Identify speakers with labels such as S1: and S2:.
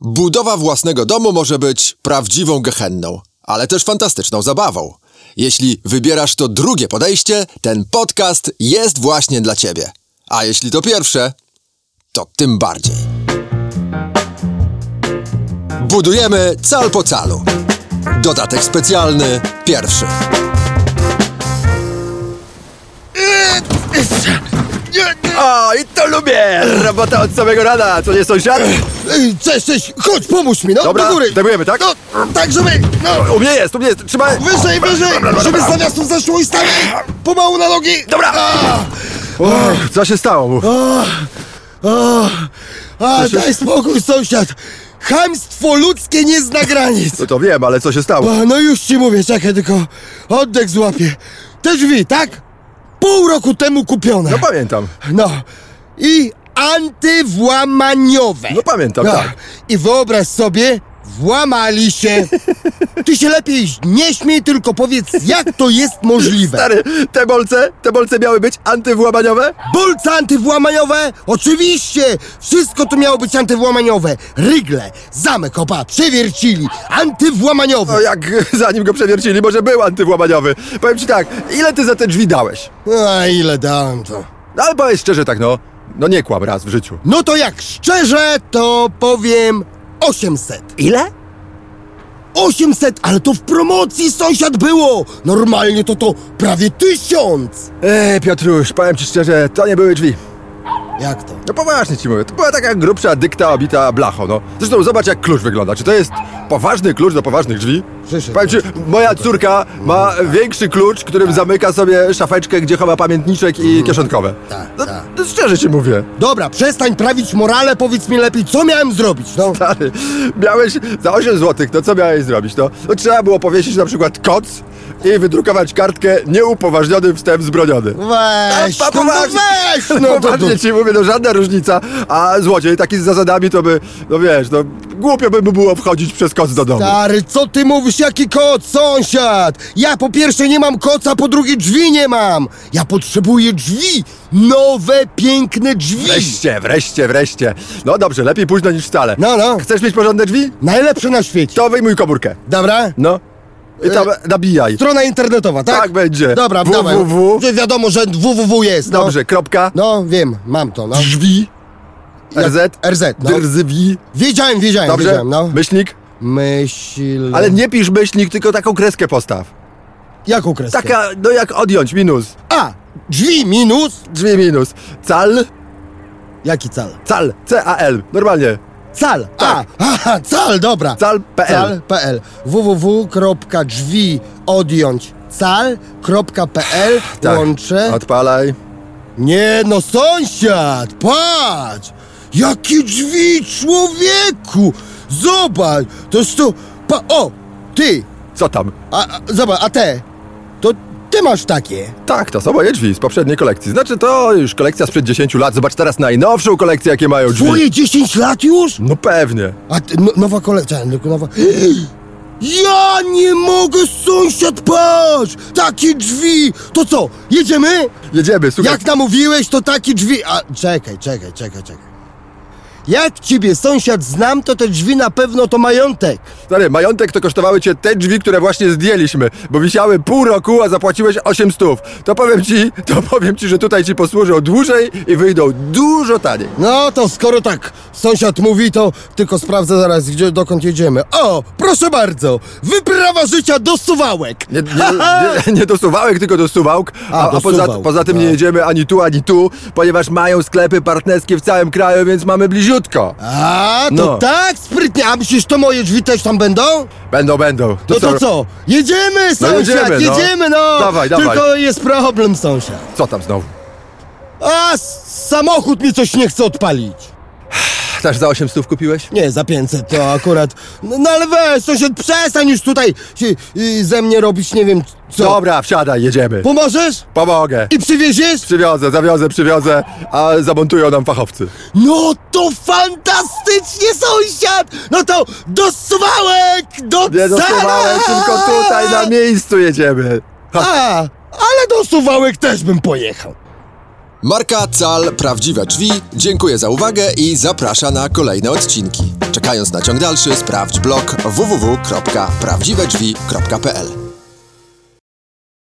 S1: Budowa własnego domu może być prawdziwą gehenną, ale też fantastyczną zabawą. Jeśli wybierasz to drugie podejście, ten podcast jest właśnie dla ciebie. A jeśli to pierwsze, to tym bardziej. Budujemy cal po calu. Dodatek specjalny, pierwszy.
S2: O, i to lubię! Robota od samego rana, to nie sąsiad?
S3: Ej, Cześć, cześć, chodź, pomóż mi, no,
S2: Dobra,
S3: do góry.
S2: zdejmujemy, tak?
S3: No, tak, żeby, no,
S2: U mnie jest, u mnie jest, trzymaj!
S3: wyżej, wyżej, żeby z zamiastu zeszło i stawaj pomału na nogi.
S2: Dobra! Och, co się stało mu?
S3: No. O, a, daj spokój, sąsiad. Chamstwo ludzkie nie zna granic.
S2: No to wiem, ale co się stało?
S3: O, no już ci mówię, czekaj tylko, oddech złapię. Te drzwi, tak? Pół roku temu kupione.
S2: No pamiętam,
S3: No, i antywłamaniowe.
S2: no pamiętam,
S3: No,
S2: tak.
S3: I wyobraź sobie, włamali się. Ty się lepiej nie śmiej, tylko powiedz, jak to jest możliwe.
S2: Stary, te bolce, te bolce miały być antywłamaniowe?
S3: Bolce antywłamaniowe? Oczywiście! Wszystko to miało być antywłamaniowe. Rygle, zamek opa, przewiercili, antywłamaniowe.
S2: No jak zanim go przewiercili, może był antywłamaniowe. Powiem ci tak, ile ty za te drzwi dałeś?
S3: A ile dałem to?
S2: No ale powiedz szczerze tak, no, no nie kłam raz w życiu.
S3: No to jak szczerze, to powiem 800.
S2: Ile?
S3: 800, ale to w promocji sąsiad było! Normalnie to to prawie tysiąc!
S2: Ej, Piotruś, powiem ci szczerze, to nie były drzwi.
S3: Jak to?
S2: No poważnie ci mówię, to była taka grubsza dykta obita blachą, no. Zresztą zobacz jak klucz wygląda, czy to jest poważny klucz do poważnych drzwi?
S3: Przyszedł. Tak.
S2: Powiem ci, moja córka ma większy klucz, którym zamyka sobie szafeczkę, gdzie chowa pamiętniczek i kieszonkowe.
S3: Tak,
S2: no,
S3: tak.
S2: no szczerze ci mówię,
S3: Dobra, przestań trawić morale, powiedz mi lepiej, co miałem zrobić, no?
S2: stary, miałeś za 8 zł, no co miałeś zrobić, no? no trzeba było powiesić na przykład koc i wydrukować kartkę nieupoważniony wstęp zbroniony.
S3: Weź,
S2: Pa-
S3: no, no
S2: poważnie.
S3: weź,
S2: No,
S3: no, to, to,
S2: poważnie ci mówię, no żadna różnica, a złodziej taki z zasadami to by, no wiesz, no głupio by mu było wchodzić przez koc do domu.
S3: Stary, co ty mówisz, jaki kot, sąsiad? Ja po pierwsze nie mam koca, po drugie drzwi nie mam. Ja potrzebuję drzwi, nowe, piękne drzwi.
S2: Wreszcie, wreszcie, wreszcie. No dobrze, lepiej późno niż wcale.
S3: No, no,
S2: Chcesz mieć porządne drzwi?
S3: najlepsze na świecie.
S2: To wyjmuj komórkę.
S3: Dobra?
S2: No. I tam nabijaj.
S3: Strona internetowa, Y- tak?
S2: Tak będzie.
S3: Dobra, dawaj.
S2: www.
S3: Że Wiadomo, że www jest, no.
S2: Dobrze, kropka.
S3: No, wiem, mam to, no.
S2: Drzwi.
S3: Jak-
S2: RZ.
S3: RZ, no.
S2: Drzwi.
S3: Wiedziałem, wiedziałem,
S2: Dobrze?
S3: wiedziałem, no.
S2: Myślnik.
S3: Myśl...
S2: Ale nie pisz myślnik, tylko taką kreskę postaw.
S3: Jaką kreskę?
S2: Taka, no jak odjąć, minus.
S3: A, drzwi minus.
S2: Drzwi minus. Cal,
S3: Jaki cal?
S2: cal, C-A-L. Normalnie.
S3: Cal,
S2: Tak.
S3: a, aha, cal, dobra.
S2: Cal.pl.
S3: Cal.pl www.drzwi odjąć cal.pl
S2: Tak.
S3: łączę.
S2: Odpalaj.
S3: Nie no, sąsiad, patrz! Jakie drzwi, człowieku! Zobacz, toż to... Pa, o, ty,
S2: Co tam?
S3: a, a, zobacz, a te, to ty masz takie.
S2: Tak, to są moje drzwi z poprzedniej kolekcji. Znaczy to już kolekcja sprzed 10 lat. Zobacz teraz najnowszą kolekcję, jakie mają drzwi.
S3: Twoje 10 lat już?
S2: No pewnie.
S3: A ty, no, nowa kolekcja, tylko nowa... Ja nie mogę, sąsiad, patrz! Takie drzwi! To co, jedziemy?
S2: Jedziemy, słuchaj.
S3: Jak namówiłeś, to takie drzwi... A, czekaj, czekaj, czekaj, czekaj. Jak ciebie, sąsiad, znam, to te drzwi na pewno to majątek.
S2: Stary, majątek to kosztowały cię te drzwi, które właśnie zdjęliśmy, bo wisiały pół roku, a zapłaciłeś 8 stów. To powiem ci, to powiem ci, że tutaj ci posłużą dłużej i wyjdą dużo taniej.
S3: No to skoro tak sąsiad mówi, to tylko sprawdzę zaraz, gdzie, dokąd jedziemy. O, proszę bardzo, wyprawa życia do Suwałek.
S2: Nie, nie, nie, nie do suwałek, tylko do suwałk, a,
S3: A, do
S2: a poza,
S3: suwałk,
S2: poza tym nie
S3: no.
S2: jedziemy ani tu, ani tu, ponieważ mają sklepy partnerskie w całym kraju, więc mamy bliziutko.
S3: A, to
S2: No.
S3: tak sprytnie, a myślisz, to moje drzwi też tam będą?
S2: Będą, będą.
S3: No to co, jedziemy sąsiad,
S2: jedziemy, no.
S3: jedziemy no.
S2: Dawaj, dawaj.
S3: tylko jest problem sąsiad.
S2: Co tam znowu?
S3: A, s- samochód mi coś nie chce odpalić.
S2: Też za 8 stów kupiłeś?
S3: Nie, za 500 to akurat, no, no ale weź sąsiad, przestań już tutaj się, y, ze mnie robić, nie wiem co.
S2: Dobra, wsiadaj, jedziemy.
S3: Pomożesz?
S2: Pomogę.
S3: I przywieziesz?
S2: Przywiozę, zawiozę, przywiozę, a zamontują nam fachowcy.
S3: No to fantastycznie, sąsiad! No to do Suwałek, do
S2: Nie dostawałem,
S3: Cala!
S2: tylko tutaj na miejscu jedziemy. Ha,
S3: A, ale do Suwałek też bym pojechał.
S1: Marka Cal Prawdziwe Drzwi dziękuję za uwagę i zaprasza na kolejne odcinki.
S2: Czekając na ciąg dalszy, sprawdź blog www.prawdziwedrzwi.pl.